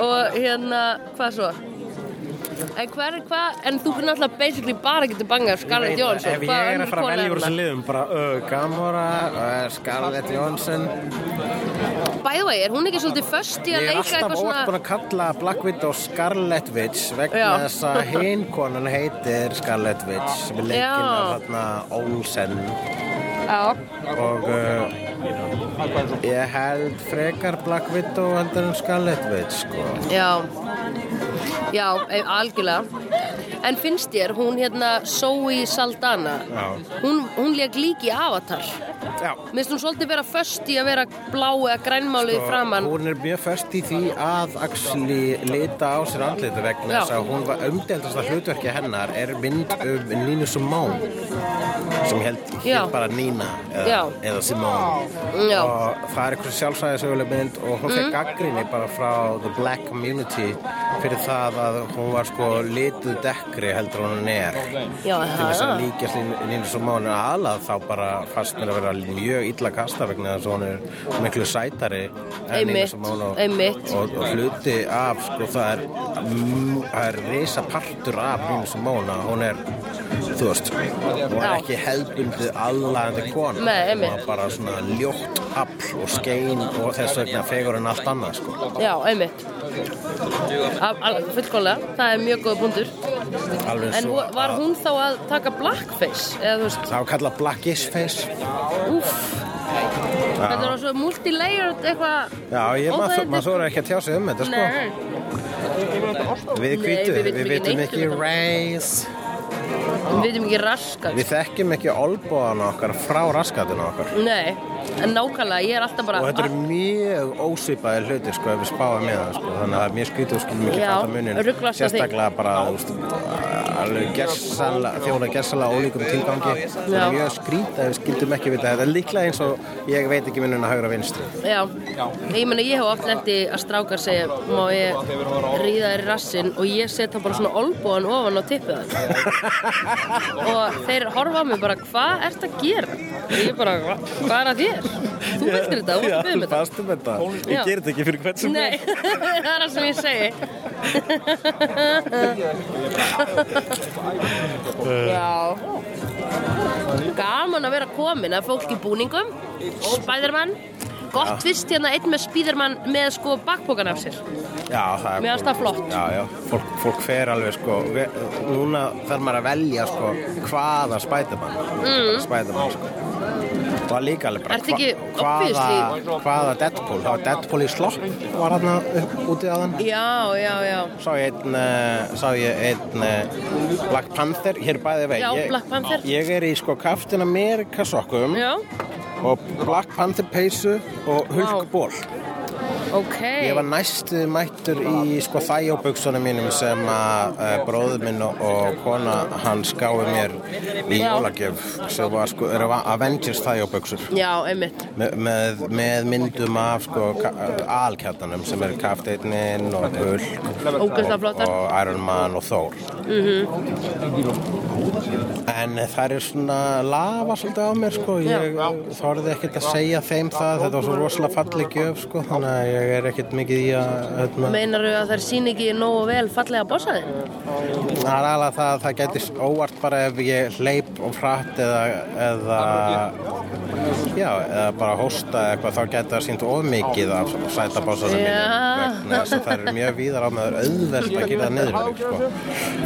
[SPEAKER 5] Og hérna, hvað svo? En hver, hvað, en þú náttúrulega basically bara getur bangað Scarlett Johansson.
[SPEAKER 2] Ef
[SPEAKER 5] Hvaða
[SPEAKER 2] ég er að
[SPEAKER 5] önnur
[SPEAKER 2] fara að velja úr
[SPEAKER 5] kona er
[SPEAKER 2] þessum
[SPEAKER 5] þarna?
[SPEAKER 2] liðum bara uh, Gamora, uh, Scarlett Johansson
[SPEAKER 5] By the way, er hún ekki svolítið först í að
[SPEAKER 2] Ég er
[SPEAKER 5] leika
[SPEAKER 2] alltaf
[SPEAKER 5] eitthvað
[SPEAKER 2] óvart búin
[SPEAKER 5] svona...
[SPEAKER 2] að kalla Black Widow Scarlet Witch vegna
[SPEAKER 5] Já.
[SPEAKER 2] þess að hinn konan heitir Scarlet Witch sem er leikinn af þarna Olsen
[SPEAKER 5] Já,
[SPEAKER 2] og uh, ég held frekar Black Widow heldur en Scarlet Witch sko.
[SPEAKER 5] já. Já, e- algjörlega. En finnst þér, hún hérna Zoe Saldana,
[SPEAKER 2] Já.
[SPEAKER 5] hún, hún leik líki Avatar.
[SPEAKER 2] Já.
[SPEAKER 5] Mér finnst hún svolítið vera föst í að vera blá eða grænmálið
[SPEAKER 2] Og
[SPEAKER 5] framann.
[SPEAKER 2] Sko, Hún er mjög först í því að actually lita á sér andlita vegna
[SPEAKER 5] Já.
[SPEAKER 2] þess að hún var umdeldasta hlutverki hennar er mynd um Nínu Simone sem held
[SPEAKER 5] Já.
[SPEAKER 2] hér bara Nína eða,
[SPEAKER 5] Já.
[SPEAKER 2] eða Simone
[SPEAKER 5] Já. Mhm.
[SPEAKER 2] og það er eitthvað sjálfsæðisöguleg mynd og hún fekk gaggrinni bara frá the black community fyrir það að hún var sko lituð dekkri heldur en hún er
[SPEAKER 5] Já,
[SPEAKER 2] til þess
[SPEAKER 5] aha.
[SPEAKER 2] að líkjast Nínu- Nínu Simone aðlað þá bara fast mér að vera mjög illa kasta vegna þess að hún er miklu sætari en Nínu
[SPEAKER 5] Einmitt,
[SPEAKER 2] Simone og,
[SPEAKER 5] einmitt.
[SPEAKER 2] og, og hluti af sko það er, mm, það er risa partur af Nínu Simone að hún er þú veist, hún er
[SPEAKER 5] Já.
[SPEAKER 2] ekki hefðbundið allaðandi kona
[SPEAKER 5] Nei,
[SPEAKER 2] hún
[SPEAKER 5] einmitt.
[SPEAKER 2] var bara svona ljótt afl og skein og þess vegna fegur en allt annað sko.
[SPEAKER 5] Já, einmitt. Al- al- Fullkomlega, það er mjög góð punktur.
[SPEAKER 2] alveg
[SPEAKER 5] En
[SPEAKER 2] svo
[SPEAKER 5] vo- var hún þá að taka blackface? Eða þú veist,
[SPEAKER 2] Það var kallað blackish face
[SPEAKER 5] úff. Þetta var svo multilayered eitthvað.
[SPEAKER 2] Já, ég, maður,
[SPEAKER 5] óþægilegt.
[SPEAKER 2] maður þóra ekki að tjá sig um þetta sko
[SPEAKER 5] Nei,
[SPEAKER 2] Við
[SPEAKER 5] Nei,
[SPEAKER 2] hvítu,
[SPEAKER 5] við vitum
[SPEAKER 2] við
[SPEAKER 5] ekki
[SPEAKER 2] vitum
[SPEAKER 5] neitt
[SPEAKER 2] ekki
[SPEAKER 5] um þetta.
[SPEAKER 2] race
[SPEAKER 5] við veitum ekki raskar.
[SPEAKER 2] Við þekkjum ekki olbóðan okkar frá raskatinn okkar
[SPEAKER 5] Nei, en nákvæmlega, ég er alltaf bara...
[SPEAKER 2] Og þetta eru mjög ósvipaði hlutir sko ef við spáum með það sko Þannig að það er mjög skrítið og skilum ekki
[SPEAKER 5] Já,
[SPEAKER 2] fæta munin
[SPEAKER 5] ruglast á því.
[SPEAKER 2] Sérstaklega bara, þú veist, alveg gersalega, þjóna gersalega ólíkum tilgangi Það
[SPEAKER 5] Já.
[SPEAKER 2] er mjög skrítið að við skildum ekki vita þetta Líklega eins og ég veit ekki munina hægra og vinstri
[SPEAKER 5] Já, ég meina ég hef oft lendi að strákar segja má ég ríða þér í rassinn og ég set það bara svona olbúan ofan á tippið það og þeir horfa á mig bara hvað ert að gera og ég bara "Hva- hvað er að þér þú viltir þetta, þú
[SPEAKER 2] Já,
[SPEAKER 5] viltir byggðum
[SPEAKER 2] þú
[SPEAKER 5] þetta
[SPEAKER 2] baðst um þetta
[SPEAKER 5] Já.
[SPEAKER 2] Ég ger þetta ekki fyrir hvert sem
[SPEAKER 5] Nei, (laughs) það er það sem ég
[SPEAKER 2] (laughs)
[SPEAKER 5] segi Já Gaman að vera komin að fólk í búningum Spiderman Gott fyrst hérna einn með Spiderman með sko bakpokan af sér
[SPEAKER 2] Já, það er
[SPEAKER 5] Mér fannst það flott.
[SPEAKER 2] Já, já, fólk, fólk fer alveg sko ve- Núna þarf maður að velja sko hvaða spætumann mm. Spætumann sko Og það er líka alveg bara
[SPEAKER 5] Ertu ekki
[SPEAKER 2] hva-
[SPEAKER 5] obviously-
[SPEAKER 2] hvaða, hvaða Deadpool Það var Deadpool í slopp Var hann upp, úti á þann
[SPEAKER 5] Já, já, já
[SPEAKER 2] Sá ég einn, uh, sá ég einn uh, Black Panther, hér bæði vei
[SPEAKER 5] Já,
[SPEAKER 2] ég,
[SPEAKER 5] Black Panther.
[SPEAKER 2] Ég er í sko Captain America sokkum
[SPEAKER 5] Já,
[SPEAKER 2] og Black Panther peysu og Hulk ból
[SPEAKER 5] Ok.
[SPEAKER 2] Ég var næstu mættur í sko þægjóbuksunum mínum sem að uh, bróður minn og, og kona hans gáði mér í
[SPEAKER 5] Já.
[SPEAKER 2] jólagjöf sem var sko eru Avengers þægjóbuksur
[SPEAKER 5] Já, einmitt.
[SPEAKER 2] með, með, með myndum af sko alkjartanum sem eru Kafteitnin og Hulk
[SPEAKER 5] Ógeðslega
[SPEAKER 2] og,
[SPEAKER 5] flottar.
[SPEAKER 2] og Iron Man og Thor En það er svona lafa svolítið á mér sko ég þorði ekkert að segja þeim það þetta var svo rosalega falleg gjöf sko þannig að ég er ekkert mikið í að hérna,
[SPEAKER 5] Meinaru að þær sín ekki nógu vel fallega bossaðin?
[SPEAKER 2] það er alveg það að það gætist óvart bara ef ég hleyp og hratt eða, eða já, eða bara hósta eða eitthvað þá gæti það sínt of mikið af sætabásanum
[SPEAKER 5] Já.
[SPEAKER 2] mínum þess að það er mjög víðar á meður auðvelt að gera niður um mig, sko.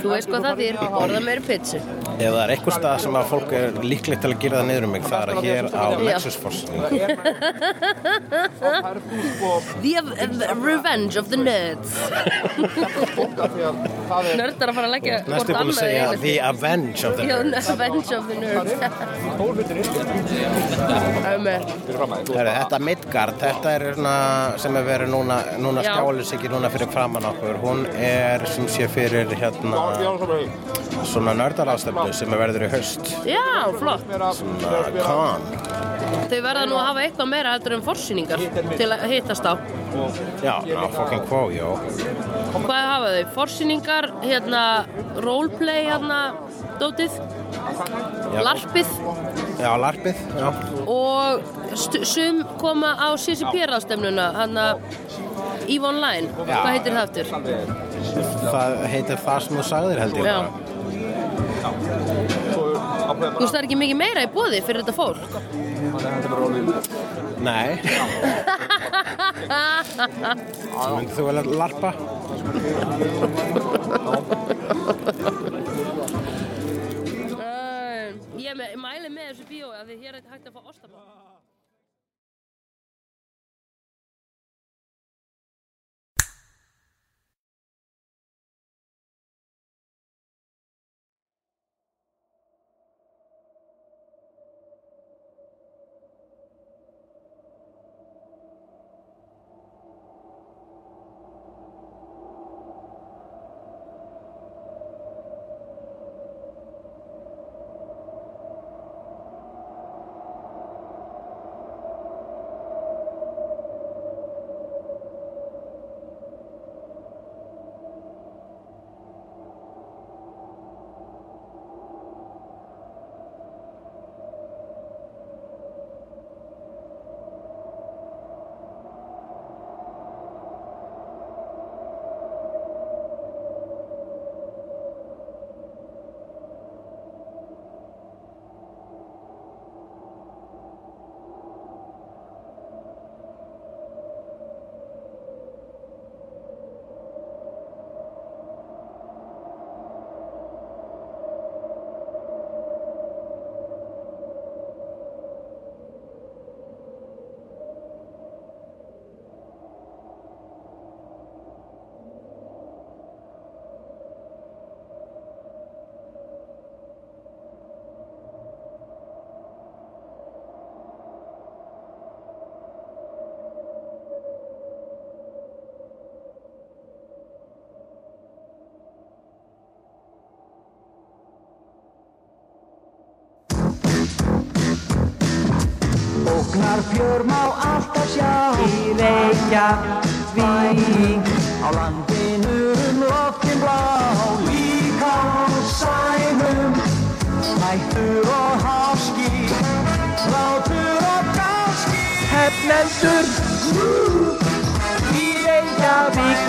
[SPEAKER 5] Þú veist hvað það þýr, borða meiri pitsu.
[SPEAKER 2] ef það er eitthvað stað sem að fólk er líklegt til að gera það niður um mig það er hér á
[SPEAKER 5] Já.
[SPEAKER 2] Nexusforsen
[SPEAKER 5] The uh, Revenge of the Nerds. (laughs) Nördar að fara að leggja
[SPEAKER 2] næstu
[SPEAKER 5] hvort
[SPEAKER 2] búin að
[SPEAKER 5] annað
[SPEAKER 2] segja
[SPEAKER 5] yfir.
[SPEAKER 2] The Avenge of the
[SPEAKER 5] Já,
[SPEAKER 2] Nerds
[SPEAKER 5] Revenge of the
[SPEAKER 2] (laughs)
[SPEAKER 5] Nerds. Einmitt. Sko,
[SPEAKER 2] Heru, þetta Midgard, þetta er svona sem er verið núna, núna
[SPEAKER 5] Já.
[SPEAKER 2] skjális ekki núna fyrir framann okkur, hún er sem sé fyrir hérna svona nördarafstöfnu sem er verður í haust
[SPEAKER 5] Já, flott.
[SPEAKER 2] svona con
[SPEAKER 5] Þau verða nú að hafa eitthvað meira heldur en forsýningar til að hittast á.
[SPEAKER 2] já, ná, fucking quo, já
[SPEAKER 5] Hvað hafa þau? Forsýningar, hérna, roleplay, hérna, dótið,
[SPEAKER 2] Já.
[SPEAKER 5] larpið
[SPEAKER 2] já, larpið, já
[SPEAKER 5] og stu- sum koma á CCP-raðstemnuna, hérna, EVE Online.
[SPEAKER 2] Já.
[SPEAKER 5] Hvað heitir það aftur?
[SPEAKER 2] það heitir það sem þú sagðir held ég
[SPEAKER 5] Já.
[SPEAKER 2] bara.
[SPEAKER 5] Þú veist, það er ekki mikið meira í bóði fyrir þetta fólk. (laughs)
[SPEAKER 2] nei, myndið þú vel að larpa?
[SPEAKER 5] Uh, ég me- mæli með þessu bíói að því hér er hægt að fá ostabá.
[SPEAKER 12] Ógnar fjör má alltaf sjá Í reykja vík Á landinu um loftin blá Líka á sænum Snættur og háski Látur og gáski Hefnendur Í reykja vík